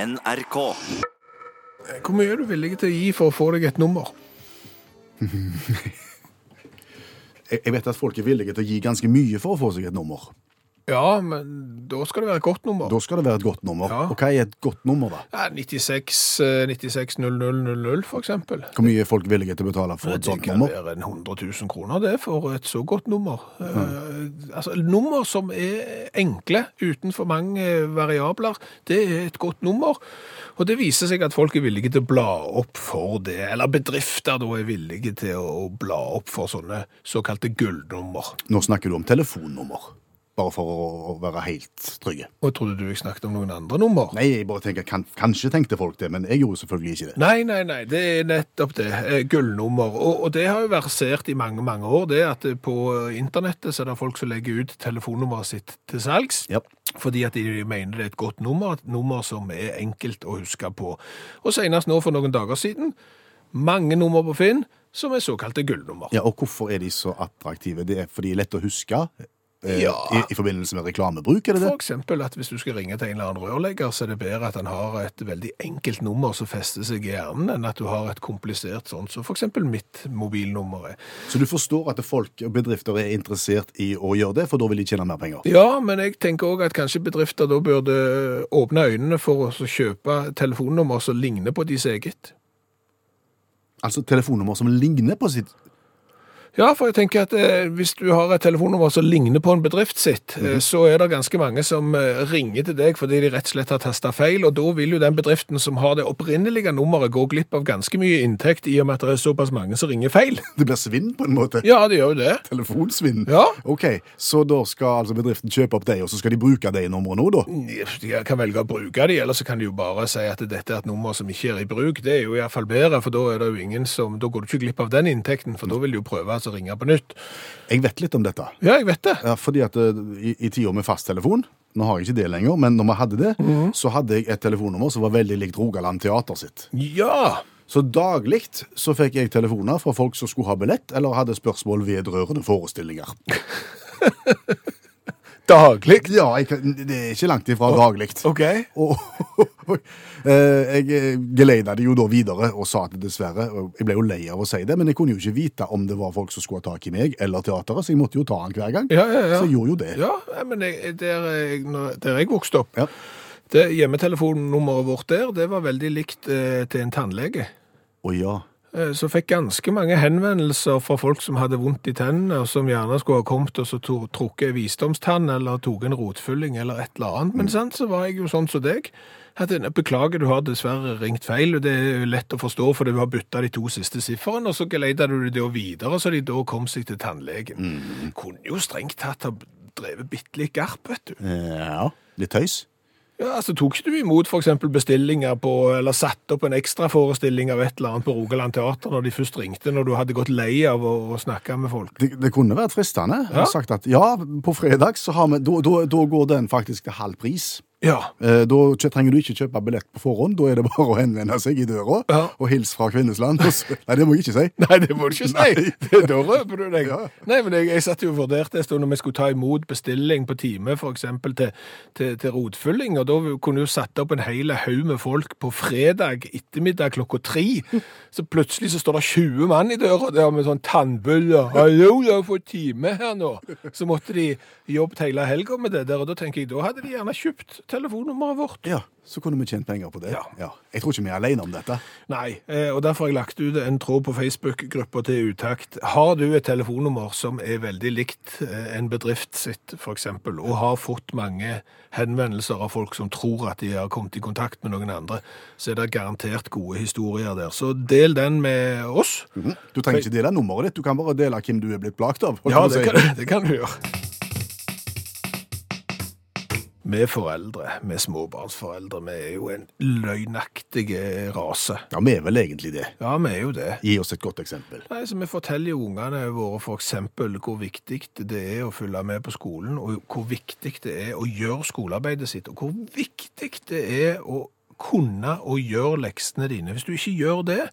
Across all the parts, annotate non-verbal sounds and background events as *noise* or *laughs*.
NRK. Hvor mye er du villig til å gi for å få deg et nummer? Jeg jeg vet at folk er villige til å gi ganske mye for å få seg et nummer. Ja, men da skal det være et godt nummer. Da skal det være et godt nummer. Ja. Og hva er et godt nummer, da? Ja, 96, eh, 96 0000 for eksempel. Hvor mye er folk villige til å betale for Det et sånt kan nummer? Mm. være en 100 000 kroner det for et så godt nummer. Eh, altså, nummer som er enkle, uten for mange eh, variabler, det er et godt nummer. Og det viser seg at folk er villige til å bla opp for det, eller bedrifter da er villige til å bla opp for sånne såkalte gullnummer. Nå snakker du om telefonnummer. Bare for å å være helt trygge. Og trodde du jeg snakket om noen andre nummer? Nei, jeg bare tenker, kan, kanskje tenkte folk det, men jeg gjorde selvfølgelig ikke det. Nei, nei, nei, det er nettopp det. eh, Gullnummer. Og, og det har jo versert i mange, mange år, det at eh, på internettet så er det folk som legger ut telefonnummeret sitt til salgs. Ja. Fordi at de mener det er et godt nummer, et nummer som er enkelt å huske på. Og senest nå for noen dager siden, mange nummer på Finn som er såkalte gullnummer. Ja, og hvorfor er de så attraktive? Det er fordi de er lett å huske eh, Ja. i, i forbindelse med reklamebruk, er det det? For eksempel at hvis du skal ringe til en eller annen rørlegger, så er det bedre at han har et veldig enkelt nummer som fester seg i hjernen, enn at du har et komplisert sånt, som for eksempel mitt mobilnummer er. Så du forstår at folk og bedrifter er interessert i å gjøre det, for da vil de tjene mer penger. Ja, men jeg tenker òg at kanskje bedrifter da burde åpne øynene for å så kjøpe telefonnummer som ligner på deres eget. Altså telefonnummer som ligner på sitt Ja, for jeg tenker at eh, hvis du har et telefonnummer som ligner på en bedrift sitt, eh, så er det ganske mange som eh, ringer til deg fordi de rett og slett har testa feil, og da vil jo den bedriften som har det opprinnelige nummeret gå glipp av ganske mye inntekt i og med at det er såpass mange som ringer feil. Det blir svinn, på en måte. Ja, det gjør jo det. Telefonsvinn. Ja. OK, så da skal altså bedriften kjøpe opp deg, og så skal de bruke de numrene nå, da? De kan velge å bruke de, eller så kan de jo bare si at dette er et nummer som ikke er i bruk. Det er jo iallfall bedre, for da er det jo ingen som Da går du ikke glipp av den inntekten, for da vil de jo prøve altså å ringe på nytt. Jeg vet litt om dette. Ja, jeg vet det. Ja, fordi at eh, i, i tida med fasttelefon Nå har jeg ikke det lenger, men når vi hadde det, Mhm. så hadde jeg et telefonnummer som var veldig likt Rogaland Teater sitt. Ja! Så daglig så fikk jeg telefoner fra folk som skulle ha billett, eller hadde spørsmål vedrørende forestillinger. *laughs* Daglig. Ja, jeg, kan- det er ikke langt ifra daglig. OK. *laughs* Og eh, jeg geleida det jo da videre og sa det dessverre. og Jeg ble jo lei av å si det, men jeg kunne jo ikke vite om det var folk som skulle ha tak i meg eller teateret, så jeg måtte jo ta den hver gang. Ja, ja, ja. Så jeg gjorde jo det. Ja, nei, men jeg, der, jeg, når- der jeg vokste opp, Ja. det hjemmetelefonnummeret vårt der, det var veldig likt eh, til en tannlege. Å ja. Eh, Så fikk ganske mange henvendelser fra folk som hadde vondt i tennene, og som gjerne skulle ha kommet og så to- trukket en visdomstann, eller tok en rotfylling, eller et eller annet. Men sant, så var jeg jo sånn som deg. At, jeg, beklager, du har dessverre ringt feil, og det er jo lett å forstå, for du har bytta de to siste siffrene, og så geleida du det jo videre, så de da kom seg til tannlegen. Kunne jo strengt tatt ha drevet bitte litt garp, vet du. Eh, ja. Litt tøys. Ja, altså Tok ikke du imot for eksempel bestillinger på, eller satt opp en ekstraforestilling av et eller annet på Rogaland Teater når de først ringte, når du hadde gått lei av å, å snakke med folk? Det, det kunne vært fristende. Jeg Ja. har sagt at ja, på fredag så har vi Da, da, da går den faktisk til halv pris. Ja. Eh, Da kjø- trenger du ikke kjøpe billett på forhånd, da er det bare å henvende seg i døra Ja. og hilse fra Kvinnesland. og så- *laughs* Nei, det må jeg ikke si. *laughs* Nei, det må du ikke si! Det, da røper du deg. Ja. Nei, men jeg, jeg satt jo og vurderte en stund om jeg skulle ta imot bestilling på time, f.eks. Til, til, til rotfylling, og da kunne jeg jo satt opp en hel haug med folk på fredag ettermiddag klokka tre. Så plutselig så står det 20 mann i døra der med sånn tannbøller. 'Hallo, jeg har fått time her nå.' Så måtte de jobbe hele helga med det der, og da tenker jeg da hadde de gjerne kjøpt telefonnummeret vårt. Ja, Så kunne vi tjent penger på det. Ja. Jeg tror ikke vi er alene om dette. Nei, eh, og derfor har jeg lagt ut en tråd på Facebook-gruppa til Utakt. Har du et telefonnummer som er veldig likt eh, en bedrift sitt, f.eks., og har fått mange henvendelser av folk som tror at de har kommet i kontakt med noen andre, så er det garantert gode historier der. Så del den med oss. Du trenger ikke dele nummeret ditt, du kan bare dele hvem du er blitt plagt av. holdt Ja, jeg på å det si. kan, det kan du gjøre. Vi foreldre, vi småbarnsforeldre, vi er jo en løgnaktig rase. Ja, Vi er vel egentlig det. Ja, vi er jo det. Gi oss et godt eksempel. Nei, så Vi forteller jo ungene våre f.eks. hvor viktig det er å følge med på skolen, og hvor viktig det er å gjøre skolearbeidet sitt, og hvor viktig det er å kunne å gjøre leksene dine. Hvis du ikke gjør det,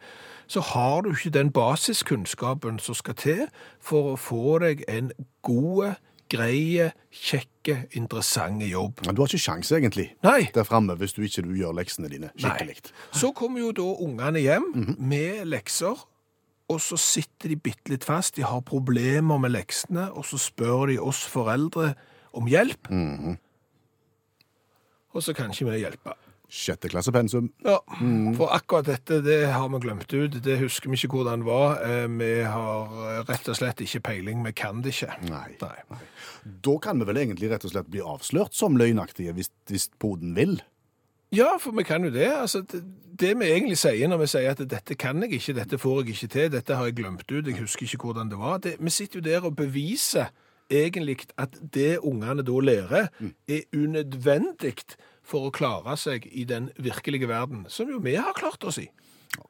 så har du ikke den basiskunnskapen som skal til for å få deg en god, greie, kjekke, interessante jobb. Men du har ikke sjans, egentlig, Nei! der framme hvis du ikke du gjør leksene dine skikkelig. Så kommer jo da ungene hjem med lekser, og så sitter de bitte litt fast. De har problemer med leksene, og så spør de oss foreldre om hjelp. Og så kan ikke vi hjelpe. Sjette klasse pensum. Ja, For akkurat dette det har vi glemt ut. Det husker vi ikke hvordan var. Eh, Vi har eh, rett og slett ikke peiling. Vi kan det ikke. Nei. Nei. Da kan vi vel egentlig rett og slett bli avslørt som løgnaktige, hvis, hvis poden vil. Ja, for vi kan jo det. Altså, det. Det vi egentlig sier når vi sier at dette kan jeg ikke, dette får jeg ikke til, dette har jeg glemt ut, jeg husker ikke hvordan det var. Det, vi sitter jo der og beviser egentlig at det ungene da lærer, er unødvendig for å klare seg i den virkelige verden, som jo vi har klart oss i.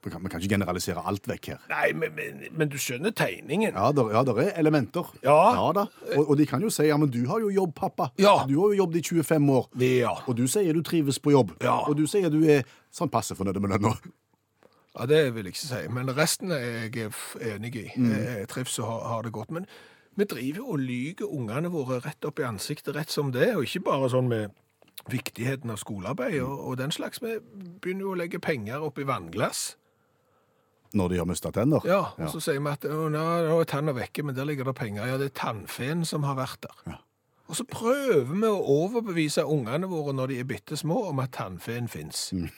Vi kan, vi kan ikke generalisere alt vekk her. Nei, men, men, men du skjønner tegningen. Ja, der, ja, der er elementer. Ja. da. Og, og de kan jo si ja, men du har jo jobb, pappa. Ja. Du har jo jobbet i 25 år. Ja. Og du sier du trives på jobb. Ja. Og du sier du er sånn passe fornøyd med lønna. Ja, det vil jeg ikke si, men resten er jeg f- enig i. Mm. Jeg jeg trives og har- har det godt. Men vi driver jo og lyger ungene våre rett opp i ansiktet, rett som det, og ikke bare sånn med viktigheten av skolearbeid og, og den slags. Vi begynner jo å legge penger opp i vannglass. Når de har mista tenner. Ja, altså, og så sier vi at «Å, nå nå er tanna vekke, men der ligger det penger. Ja, det er tannfeen som har vært der. Ja. Og så prøver vi å overbevise ungene våre når de er bitte små, om at tannfeen fins. Mm.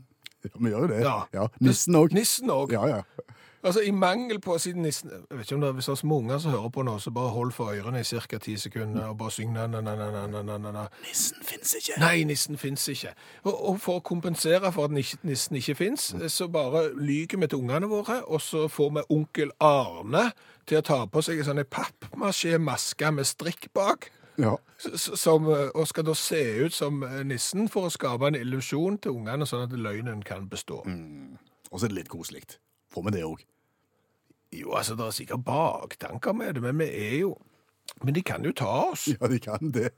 *laughs* Ja, Vi gjør jo det. Ja. Nissen òg. Nissen òg. Ja, ja. Altså, I mangel på siden nissen Jeg vet ikke om det er hvis det er små unger som hører på nå, så bare hold for ørene i ca. ti sekunder og bare syng na-na-na-na-na-na-na. Nissen fins ikke. Nei, nissen fins ikke. Og, og for å kompensere for at nis- nissen ikke fins, så bare lyver vi til ungene våre, og så får vi onkel Arne til å ta på seg en sånn pappmasjé-maske med strikk bak. Ja. s- s- Som, eh, og skal da se ut som eh, nissen for å skape en illusjon til ungene, sånn at løgnen kan bestå. Og så er det litt koselig. Får vi det òg. Jo, altså, det er sikkert baktanker med det, men vi er jo Men de kan jo ta oss. Ja, de kan det.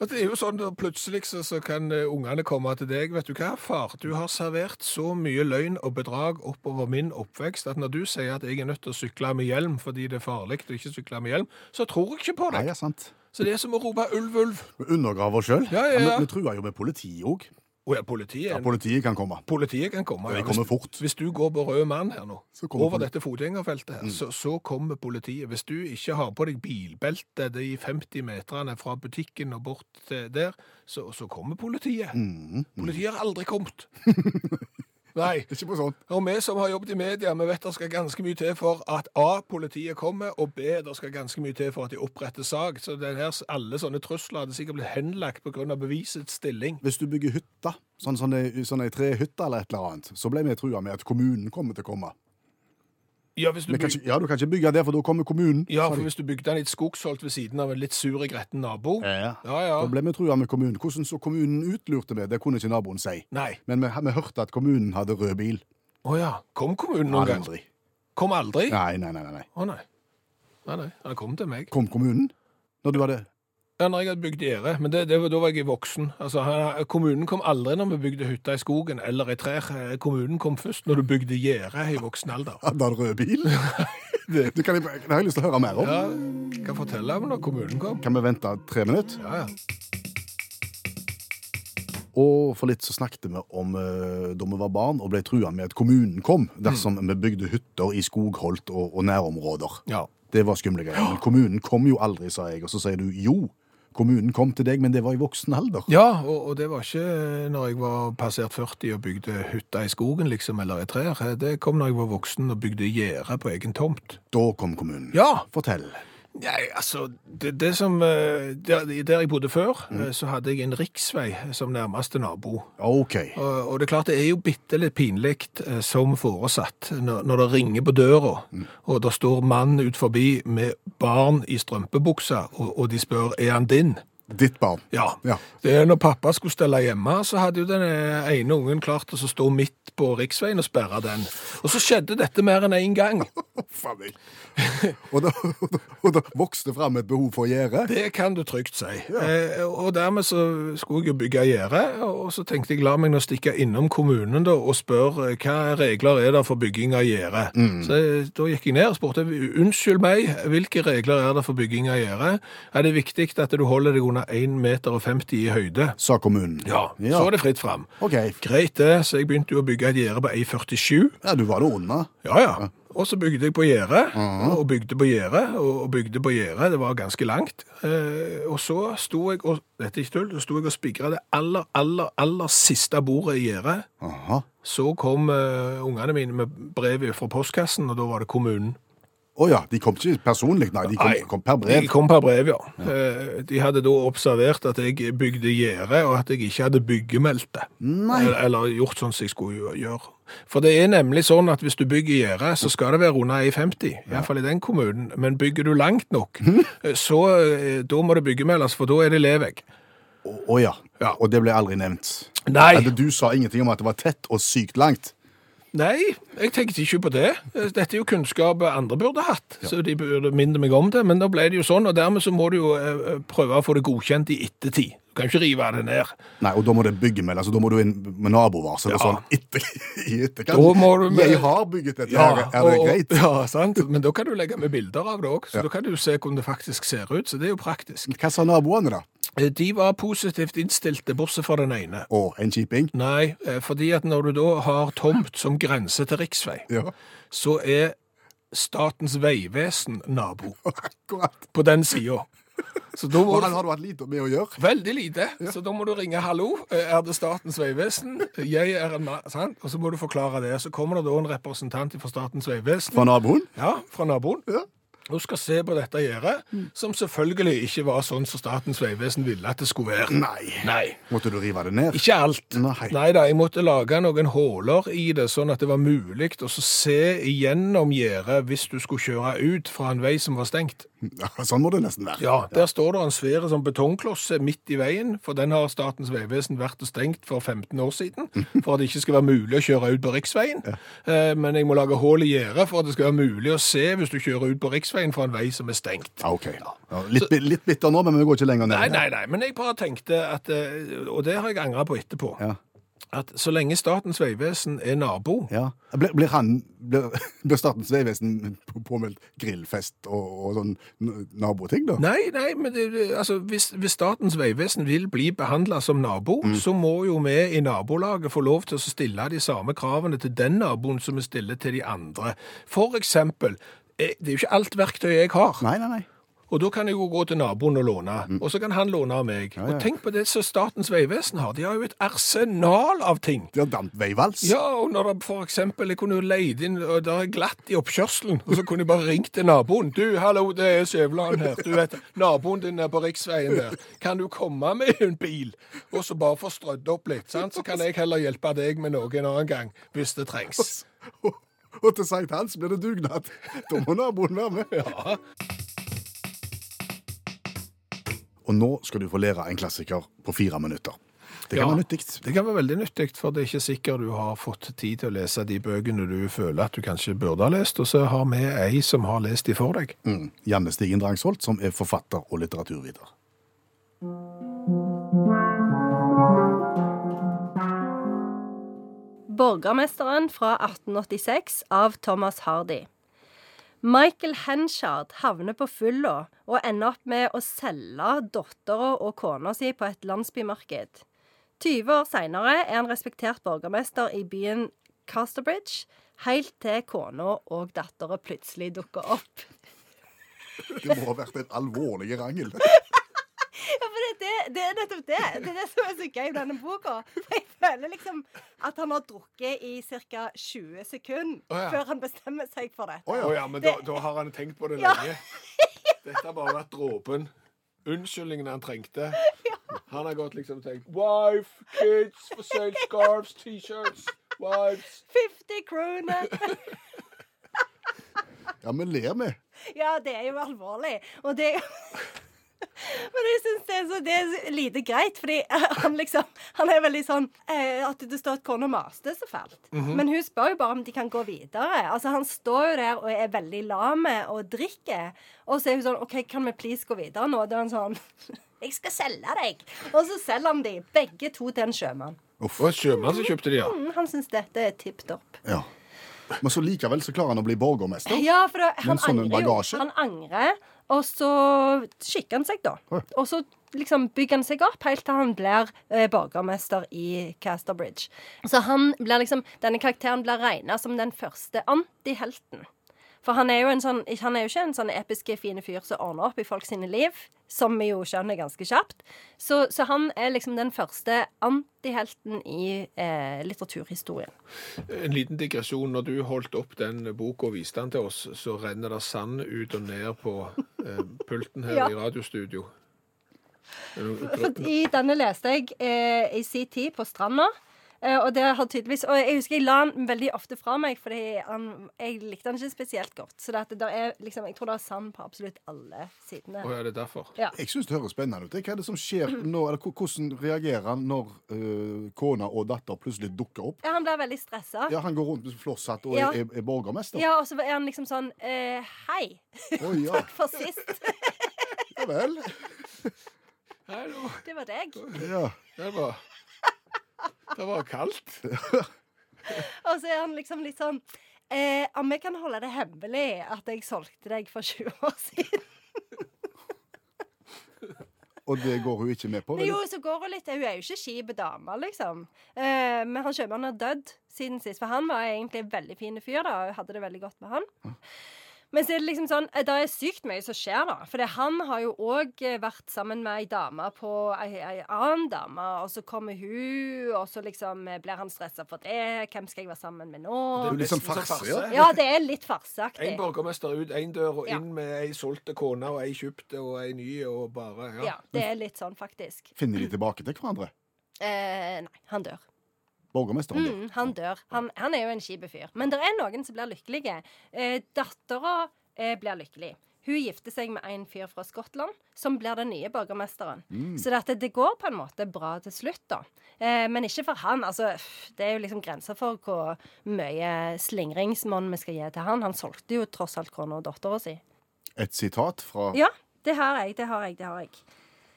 Altså, det er jo sånn at Plutselig så, så kan eh, ungene komme til deg. Vet du hva, far, du har servert så mye løgn og bedrag oppover min oppvekst at når du sier at jeg er nødt til å sykle med hjelm fordi det er farlig å ikke sykle med hjelm, så tror jeg ikke på Nei, deg. ja, sant. Så det er som å rope ulv, ulv. Vi undergraver oss sjøl. Ja, ja, ja. vi, vi truer jo med politiet òg. Å ja, politiet. Ja, politiet kan komme. Politiet kan komme. Og de ja. kommer Hvis- fort. Hvis du går på rød mann her nå, Så kommer Mm. over poli- dette fotgjengerfeltet her, så, så kommer politiet. Hvis du ikke har på deg bilbelte de 50 meterne fra butikken og bort til der, så, så kommer politiet. Mm. Mhm. Politiet har aldri *laughs* kommet. Nei. Ikke på sånn. Og vi som har jobbet i media, vi vet det skal ganske mye til for at A, politiet kommer, og B, det skal ganske mye til for at de oppretter sak. Så den her, alle sånne trusler hadde sikkert blitt henlagt på grunn av bevisets stilling. Hvis du bygger hytte, sånn, sånne, sånne trehytte eller et eller annet, så ble vi trua med at kommunen kommer til å komme. Ja, hvis du Men bygger- kan ikke, ja, du kan ikke bygge der, for da kommer kommunen. Ja, for hvis du bygde den i et skogsholt ved siden av en litt sur og gretten nabo Ja, ja. Ja, ja. Da ble vi trua med kommunen. Hvordan så kommunen utlurte vi, det kunne ikke naboen si. Nei. Men vi, vi hørte at kommunen hadde rød bil. Å ja. Kom kommunen noen gang? Aldri. Kom aldri? Å Nei, nei, nei, nei, nei. nei. Nei, nei. Han kom til meg. Kom kommunen? Når du hadde... Ja, når jeg hadde bygd gjerde. Men det, det, var- da var jeg voksen. Altså, han, kommunen kom aldri når vi bygde hytta i skogen eller i trær. Eh, Kommunen kom først når du bygde gjerde i voksen alder. Hadde han rød *laughs* bil? *laughs* det, det, kan jeg, det har jeg lyst til å høre mer om. Ja, kan fortelle om når kommunen kom. Kan vi vente tre minutter? Ja, ja. Og for litt så snakket vi om eh, da vi var barn og ble trua med at kommunen kom dersom Mm. vi bygde hytter i skogholt og, og nærområder. ja. Det var skumle greier. Men kommunen kom jo aldri, sa jeg. Og så sier du jo, kommunen kom til deg, men det var i voksen alder. Ja, og, og det var ikke eh, når jeg var passert 40 og bygde hytta i skogen, liksom, eller i trær. Det kom når jeg var voksen og bygde gjerde på egen tomt. Da kom kommunen. Ja! Fortell. Nei, altså, det, det som eh, der, der jeg bodde før, eh, så hadde jeg en riksvei som nærmeste nabo. OK. Og, og det er klart, det er jo bitte litt pinlig eh, som foresatt når, når det ringer på døra, og det står mann ut forbi med barn i strømpebuksa, og, og de spør er han din? Ditt barn. Ja. Ja. Det er når pappa skulle stelle hjemme, så hadde jo den eh, ene ungen klart å stå midt på riksveien og sperre den. Og så skjedde dette mer enn én gang. Huff a *laughs* meg. Og da, og da, og da vokste fram et behov for gjerde. Det kan du trygt si. Eh, og dermed så skulle jeg jo bygge gjerde, og så tenkte jeg la meg nå stikke innom kommunen da, og spørre eh, hva regler er det for bygging av gjerde. Så jeg, da gikk jeg ned og spurte unnskyld meg, hvilke regler er det for bygging av gjerde? Er det viktig at du holder deg under 1,50 meter i høyde? Sa kommunen. Ja, så er det fritt fram. OK. Greit det, så jeg begynte jo å bygge et gjerde på 1,47. Ja, du var det unna. Ja, ja. Og så bygde jeg på gjerdet, og bygde på gjerdet, og og bygde på gjerdet. Det var ganske langt. Eh, og så sto jeg og dette er ikke tull, så sto jeg og spigra det aller, aller, aller siste bordet i gjerdet. Aha. Så kom eh, ungene mine med brev fra postkassen, og da var det kommunen. Å ja, de kom ikke personlig, nei. De kom, Nei. kom per De brev. kom per brev, ja. Eh, de hadde da observert at jeg bygde gjerde, og at jeg ikke hadde byggemeldt det. Nei. Eller, eller gjort sånn som jeg skulle jo gjøre. For det er nemlig sånn at hvis du bygger gjerde, så skal det være under 1,50. I hvert fall i den kommunen. Men bygger du langt *laughs* nok, eh, så eh, da må det byggemeldes, for da er det levegg. Å å ja. Ja. Og det ble aldri nevnt. Nei. Eller du sa ingenting om at det var tett og sykt langt. Nei, jeg tenkte ikke på det. Dette er jo kunnskap andre burde hatt, så de burde minne meg om det. Men da ble det jo sånn, og dermed så må du jo eh, prøve å få det godkjent i ettertid. Du kan ikke rive det ned. Nei, og da må det byggemeldes, og da må du inn med nabovarsel og Ja. sånn etter, i etterkant. Da må du med- Jeg har bygget dette, her, er det og- greit? Ja, sant. Men da kan du legge med bilder av det òg, så da kan du se hvordan det faktisk ser ut. Så det er jo praktisk. Hva sa naboene da? Eh, De var positivt innstilte, bortsett fra den ene. Å, en kjiping? Nei, eh, fordi at når du da har tomt som grense til riksvei, Ja, *laughs* så er Statens vegvesen nabo akkurat. på den sida. Så da må Og han du har du hatt lite med å gjøre. Veldig lite. Så da må du ringe 'hallo, eh, er det Statens vegvesen'? Jeg er en mann sant? Og så må du forklare det. Så kommer det da en representant fra Statens vegvesen. Fra naboen? Ja, fra naboen. Ja. Mm. Hun skal se på dette gjerdet, som selvfølgelig ikke var sånn som Statens vegvesen ville at det skulle være. Nei. Nei. Måtte du rive det ned? Ikke alt. Nei. Nei da, jeg måtte lage noen huller i det, sånn at det var mulig å så se igjennom gjerdet hvis du skulle kjøre ut fra en vei som var stengt. Ja, Sånn må det nesten være. Ja, Der står det en svær sånn betongklosse midt i veien, for den har Statens vegvesen vært og stengt for 15 år siden. For at det ikke skal være mulig å kjøre ut på riksveien. Eh, Men jeg må lage hull i gjerdet for at det skal være mulig å se hvis du kjører ut på riksveien fra en vei som er stengt. Ja, ok. Ja, litt, bi- litt bitter nå, men vi går ikke lenger ned. Nei, nei, nei, men jeg bare tenkte at eh, Og det har jeg angra på etterpå. Ja. At så lenge Statens vegvesen er nabo Ja. Blir, blir han, blir, *laughs* blir Statens vegvesen på- påmeldt grillfest og, og sånn n- naboting, da? Nei, nei, men det, det- altså, hvis, hvis Statens vegvesen vil bli behandla som nabo, så må jo vi i nabolaget få lov til å stille de samme kravene til den naboen som vi stiller til de andre. For eksempel, eh, det er jo ikke alt verktøyet jeg har. Nei, nei, nei. Og da kan jeg jo gå til naboen og låne, og så kan han låne av meg. Og tenk på det som Statens vegvesen har. De har jo et arsenal av ting. De har dampveivals. Ja, og når det for eksempel jeg kunne jo leid inn, og det er glatt i oppkjørselen, og så kunne jeg bare ringt til naboen. Du, hallo, det er Skjæveland her. Du vet, naboen din er på riksveien der. Kan du komme med en bil? Og så bare få strødd opp litt, sant? Så kan jeg heller hjelpe deg med noe en annen gang, hvis det trengs. Og, *laughs* og til Sankt Hans blir det dugnad. Da må naboen være med. Ja. Og nå skal du få lære en klassiker på fire minutter. Det kan Ja. være nyttig. Det kan være veldig nyttig, for det er ikke sikkert du har fått tid til å lese de bøkene du føler at du kanskje burde ha lest, og så har vi ei som har lest de for deg. Mm. Janne Stigen Drangsholt, som er forfatter og litteraturviter. Borgermesteren fra 1886 av Thomas Hardy. Michael Henshard havner på fylla og ender opp med å selge dattera og kona si på et landsbymarked. 20 år seinere er han respektert borgermester i byen Casterbridge, helt til kona og dattera plutselig dukker opp. Det må ha vært en alvorlig rangel. Ja, for det, det, det er nettopp det. Det er det som er så gøy med denne boka. For jeg føler liksom at han har drukket i ca. 20 sekunder Å, ja. før han bestemmer seg for dette. Å ja, men da, da har han tenkt på det Ja. *laughs* lenge. Dette har bare vært dråpen. Unnskyldningen han trengte. Han har gått liksom og tenkt Wife, kids, for sale scarves, T-shirts, wives. 50 kroner! Ja, men ler vi. Ja, det er jo *laughs* alvorlig. Og det, Men jeg syns det, er så- det er så lite greit, fordi eh, han liksom Han er veldig sånn eh, At det står at kona maste så fælt. Men hun spør jo bare om de kan gå videre. Altså Han står jo der og er veldig lame og drikker. Og så er hun sånn OK, kan vi please gå videre nå? Da er han sånn *laughs* Jeg skal selge deg. Og så selger han de, begge to, til en sjømann. Og en sjømann som kjøpte de, ja. Mm, han syns dette er tipp topp. Ja. Men så likevel så klarer han å bli borgermester. Ja, for da, han, Men sånn en angrer jo, bagasje? han angrer, og så skikker han seg, da. Oi. Og så liksom bygger han seg opp helt til han blir eh, borgermester i Casterbridge. Så han blir liksom, denne karakteren blir regna som den første antihelten. For han er jo, en sånn, han er jo ikke en sånn episke, fine fyr som ordner opp i folk sine liv, som vi jo skjønner ganske kjapt. Så, så han er liksom den første antihelten i eh, litteraturhistorien. En liten digresjon. Når du holdt opp den boka og viste den til oss, så renner det sand ut og ned på eh, pulten her Ja. i radiostudio. Er det noe- For i denne leste jeg eh, i sin tid på stranda. Eh, og det har tydeligvis Og jeg husker jeg la den veldig ofte fra meg, fordi han, jeg likte den ikke spesielt godt. Så det at det der er liksom Jeg tror det er sand på absolutt alle sidene. Å ja, det er derfor. Ja. Jeg syns det høres spennende ut. Hva er det som skjer nå, eller ko- hvordan reagerer han når eh, kona og datter plutselig dukker opp? Ja, han blir veldig stressa. Ja. Ja, Han går rundt med flosshatt og Ja. er, er borgermester? og så er han liksom sånn eh, Hei, Å ja. for sist. *laughs* ja vel. Hallo. Det var deg. Ja. Det var Det var kaldt. Og så er han liksom litt sånn eh, Om jeg kan holde det hemmelig at jeg solgte deg for 20 år siden. Og det går hun ikke med på? Men vel? jo, så går hun litt Hun er jo ikke kjip dame, liksom. Eh, men han sjømannen har dødd siden sist, for han var egentlig en veldig fin fyr, da, og hun hadde det veldig godt med han. Men så er det liksom sånn eh, Det er sykt mye som skjer, da. For han har jo òg vært sammen med ei dame på ei, ei annen dame, og så kommer hun, og så liksom eh, blir han stressa for det. Hvem skal jeg være sammen med nå? Det er jo litt sånn Nesten som farse, ja. Ja, det er litt farseaktig. En borgermester ut én dør, og Ja. inn med ei solgte kone og ei kjøpte og ei ny og bare ja. Ja, det er litt sånn, faktisk. Finner de tilbake til hverandre? Eh, nei, han dør. Borgermesteren dør. Mm, han dør. Han, han er jo en kjip fyr. Men det er noen som blir lykkelige. Eh, Dattera eh, blir lykkelig. Hun gifter seg med en fyr fra Skottland som blir den nye borgermesteren. Så dette, det går på en måte bra til slutt, da. Eh, men ikke for han. Altså, pff, det er jo liksom grenser for hvor mye slingringsmonn vi skal gi til han. Han solgte jo tross alt kona og dattera si. Et sitat fra Ja, det har jeg, det har jeg, det har jeg.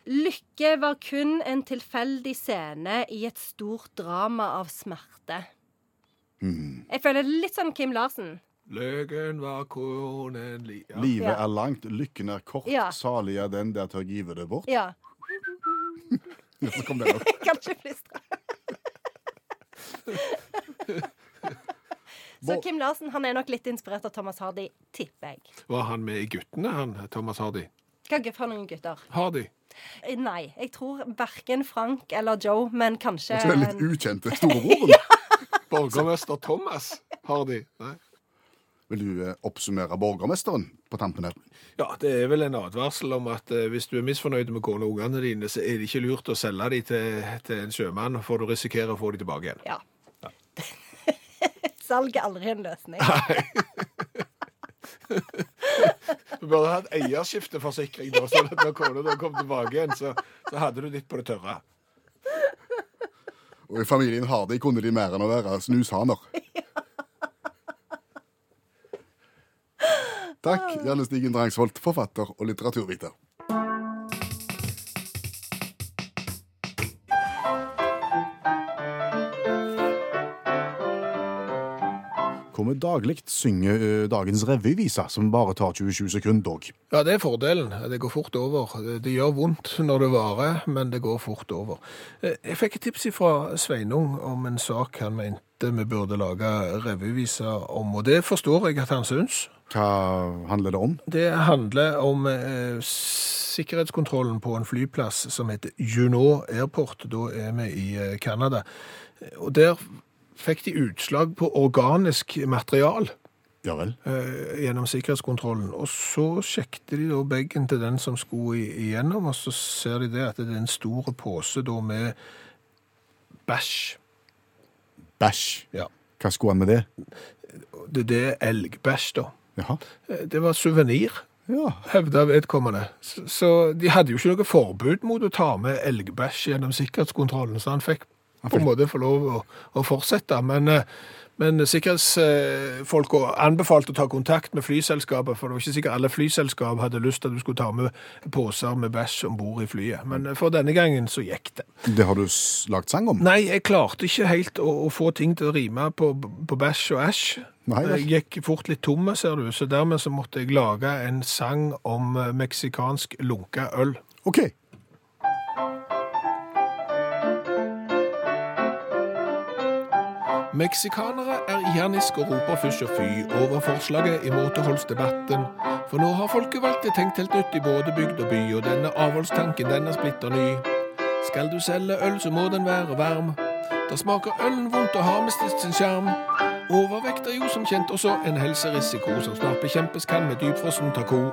Lykke var kun en tilfeldig scene i et stort drama av smerte. Jeg føler det litt sånn Kim Larsen. Løken var konen li... Ja. Livet Ja. er langt, lykken er kort, Ja. salig er den der tør give det bort. Ja. Ja, så kom den opp. *laughs* Jeg kan ikke flystre. Så Kim Larsen han er nok litt inspirert av Thomas Hardy, tipper jeg. Var han med i Guttene, han Thomas Hardy? Kan ikke få noen gutter. Hardy. Eh, Nei. Jeg tror verken Frank eller Joe, men kanskje Så den litt en- ukjente *laughs* storebroren. Borgermester Thomas Hardy. Nei. Vil du eh, oppsummere borgermesteren på tampen her? Ja, det er vel en advarsel om at eh, hvis du er misfornøyd med kona og ungene dine, så er det ikke lurt å selge dem til, til en sjømann, for du risikerer å få dem tilbake igjen. *laughs* Ja. Salg er aldri en løsning. Du burde hatt eierskifteforsikring, da, sånn at når kona da kom tilbake igjen, så, så hadde du ditt på det tørre. Og i familien Hardy kunne de mer enn å være *laughs* snushaner. Takk, Janne Stigen Drangsvold, forfatter og litteraturviter. Hvor vi daglig synger ø, dagens revyvise, som bare tar 27 sekunder. dog. Ja, det er fordelen. Det går fort over. Det gjør vondt når det varer, men det går fort over. Eh, Jeg fikk et tips fra Sveinung om en sak han mente vi burde lage revyviser om, og det forstår jeg at han syns. Hva handler det om? Det handler om eh, sikkerhetskontrollen på en flyplass som heter Juno Airport. Da er vi i eh, Canada. Og der fikk de utslag på organisk material Ja vel. eh, gjennom sikkerhetskontrollen. Og så sjekket de da bagen til den som skulle i- igjennom, og så ser de det at det er en stor pose da med bæsj. Bæsj. Ja. Hva skulle han med det? Det, det er elgbæsj, da. Jaha. Eh, Det var suvenir Ja. hevda vedkommende. S- Så de hadde jo ikke noe forbud mot å ta med elgbæsj gjennom sikkerhetskontrollen, så han fikk på en måte få lov å, å fortsette. Men, eh, men sikkerhetsfolka anbefalte å ta kontakt med flyselskapet, for det var ikke sikkert alle flyselskap hadde lyst til at du skulle ta med poser med bæsj om bord i flyet. Men eh, for denne gangen så gikk det. Det har du s- lagt sang om? Nei, jeg klarte ikke helt å, å få ting til å rime på, på bæsj og æsj. Nei vel. Jeg gikk fort litt tomme, ser du, så dermed så måtte jeg lage en sang om eh, meksikansk lunka øl. OK. Meksikanere er ironiske og roper fysj og fy over forslaget i måteholdsdebatten. For nå har folkevalgte tenkt helt nytt i både bygd og by, og denne avholdstanken den er splitter ny. Skal du selge øl, så må den være varm. Da smaker ølen vondt og har mistet sin sjarm. Overvekt er jo som kjent også en helserisiko som snart bekjempes kan med dypfrossen taco.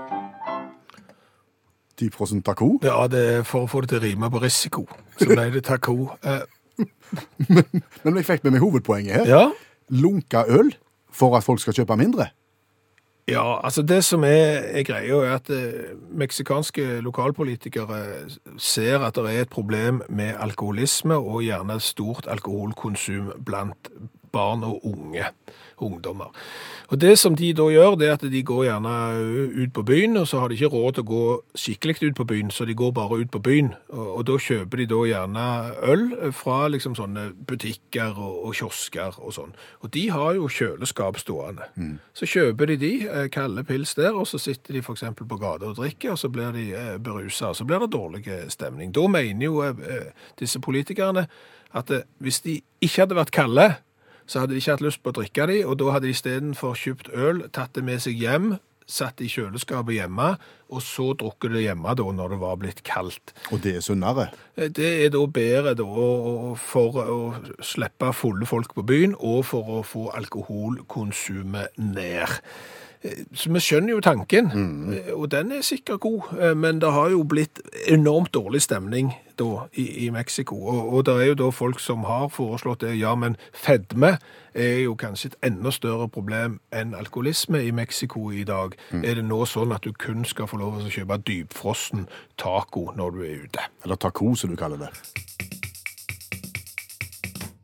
10 taco. Ja, det er for å få det til å rime på risiko. *laughs* Så ble det Eh, taco. Men jeg fikk med meg hovedpoenget her. ja? Lunka øl for at folk skal kjøpe mindre. Ja, altså det som er, er greia, er at eh, meksikanske lokalpolitikere ser at det er et problem med alkoholisme, og gjerne stort alkoholkonsum blant barn og unge. Ungdommer. Og det som de da gjør, det er at de går gjerne eh, ut på byen, og så har de ikke råd til å gå skikkelig ut på byen, så de går bare ut på byen. Og, og da kjøper de da gjerne øl fra liksom sånne butikker og, og kiosker og sånn. Og de har jo kjøleskap stående. Så kjøper de de, eh, kalde pils der, og så sitter de f.eks. på gata og drikker, og så blir de eh, berusa, og så blir det dårlig eh, stemning. Da mener jo eh, eh, disse politikerne at eh, hvis de ikke hadde vært kalde, så hadde de ikke hatt lyst på å drikke de, og da hadde de istedenfor kjøpt øl, tatt det med seg hjem, satt det i kjøleskapet hjemme, og så drukket det hjemme da når det var blitt kaldt. Og det er sunnere. Eh, Det er da bedre da, å- å- for å slippe fulle folk på byen, og for å få alkoholkonsumet ned. Eh, Så vi skjønner jo tanken, eh, og den er sikkert god, eh, men det har jo blitt enormt dårlig stemning da i, i Mexico. Og, og det er jo da folk som har foreslått det, ja, men fedme er jo kanskje et enda større problem enn alkoholisme i Mexico i dag. Er det nå sånn at du kun skal få lov til å kjøpe dypfrossen taco når du er ute? Eller taco, som du kaller det.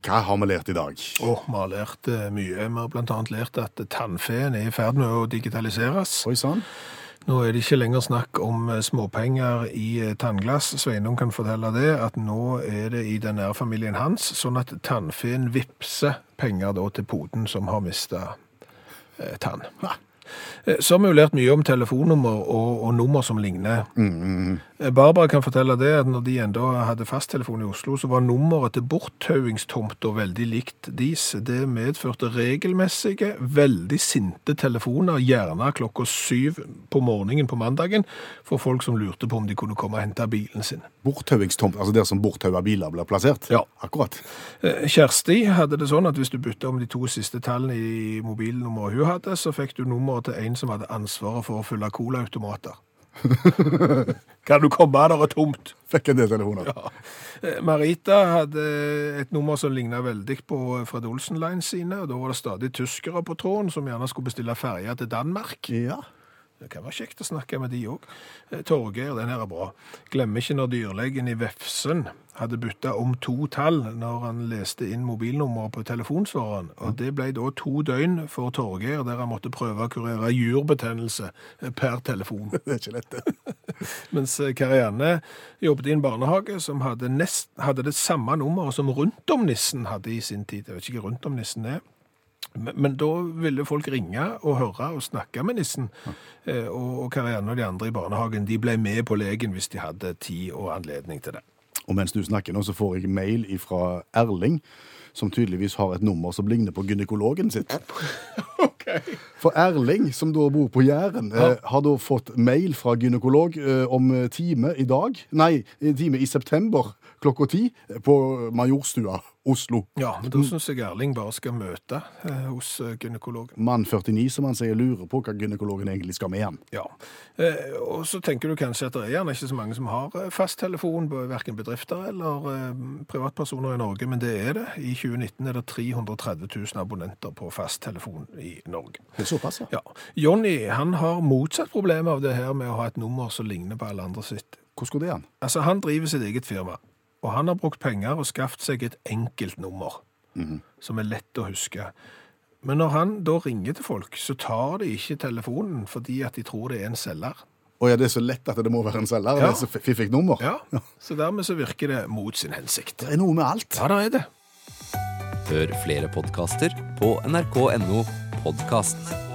Hva har vi lært i dag? Og vi har lært eh, mye. Vi har blant annet lært at tannfeen er i ferd med å digitaliseres. Oi sann. Nå er det ikke lenger snakk om eh, småpenger i eh, tannglass. Sveinung kan fortelle det, at nå er det i den nære familien hans, sånn at tannfeen vipser penger da til poden som har mista tann. Eh, Så har vi jo lært mye om telefonnummer og, og nummer som ligner. Eh, Barbara kan fortelle det at når de enda hadde fasttelefon i Oslo, så var nummeret til borttauingstomta veldig likt dis. Det medførte regelmessige, veldig sinte telefoner, gjerne klokka syv på morgenen på mandagen, for folk som lurte på om de kunne komme og hente bilen sin. Borttauingstomt, altså der som borttaua biler blir plassert? Ja. Akkurat. Eh, Kjersti hadde det sånn at hvis du bytta om de to siste tallene i mobilnummeret hun hadde, så fikk du nummeret til en som hadde ansvaret for å fylle colaautomater. kan du komme, der er tomt! Fikk en del telefoner. Eh, Marita hadde et nummer som lignet veldig på Fred Olsen Line sine, og da var det stadig tyskere på tråden som gjerne skulle bestille ferja til Danmark. Ja. Det kan være kjekt å snakke med de òg. Torgeir, den her er bra. Glemmer ikke når dyrlegen i Vefsn hadde bytta om to tall når han leste inn mobilnummeret på telefonsvareren. Og det ble da to døgn for Torgeir, der han måtte prøve å kurere jurbetennelse eh, per telefon. Det er ikke lett, det. Mens eh, Karianne jobbet i en barnehage som hadde, nest, hadde det samme nummeret som Rundt om nissen hadde i sin tid. Jeg vet ikke hva Rundt om nissen er. Men, men da ville folk ringe og høre og snakke med nissen. Eh, og, og Karianne og de andre i barnehagen de ble med på legen hvis de hadde tid og anledning til det. Og mens du snakker nå, så får jeg mail fra Erling, som tydeligvis har et nummer som ligner på gynekologen sitt. For Erling, som da bor på Jæren, eh, har da fått mail fra gynekolog eh, om time i dag, nei, time i september klokka ti eh, på Majorstua Oslo. Ja, men da syns jeg Erling bare skal møte eh, hos eh, gynekologen. Mann 49, som han sier, lurer på hva gynekologen egentlig skal med han. Ja. Eh, og så tenker du kanskje at det er gjerne ikke så mange som har eh, fasttelefon, verken bedrifter eller eh, privatpersoner i Norge, men det er det. I 2019 er det 330 000 abonnenter på fasttelefon i Norge. Det er såpass, ja. Ja. Jonny han har motsatt problem av det her med å ha et nummer som ligner på alle andre sitt. Hvordan går det an? Altså, Han driver sitt eget firma, og han har brukt penger og skaffet seg et enkelt nummer som er lett å huske. Men når han da ringer til folk, så tar de ikke telefonen fordi at de tror det er en selger. Å ja, det er så lett at det må være en selger. Ja. Det er så fiffig nummer. Ja, Så dermed så virker det mot sin hensikt. Det er noe med alt. Ja, det er det. Hør flere podkaster på nrk.no podkast.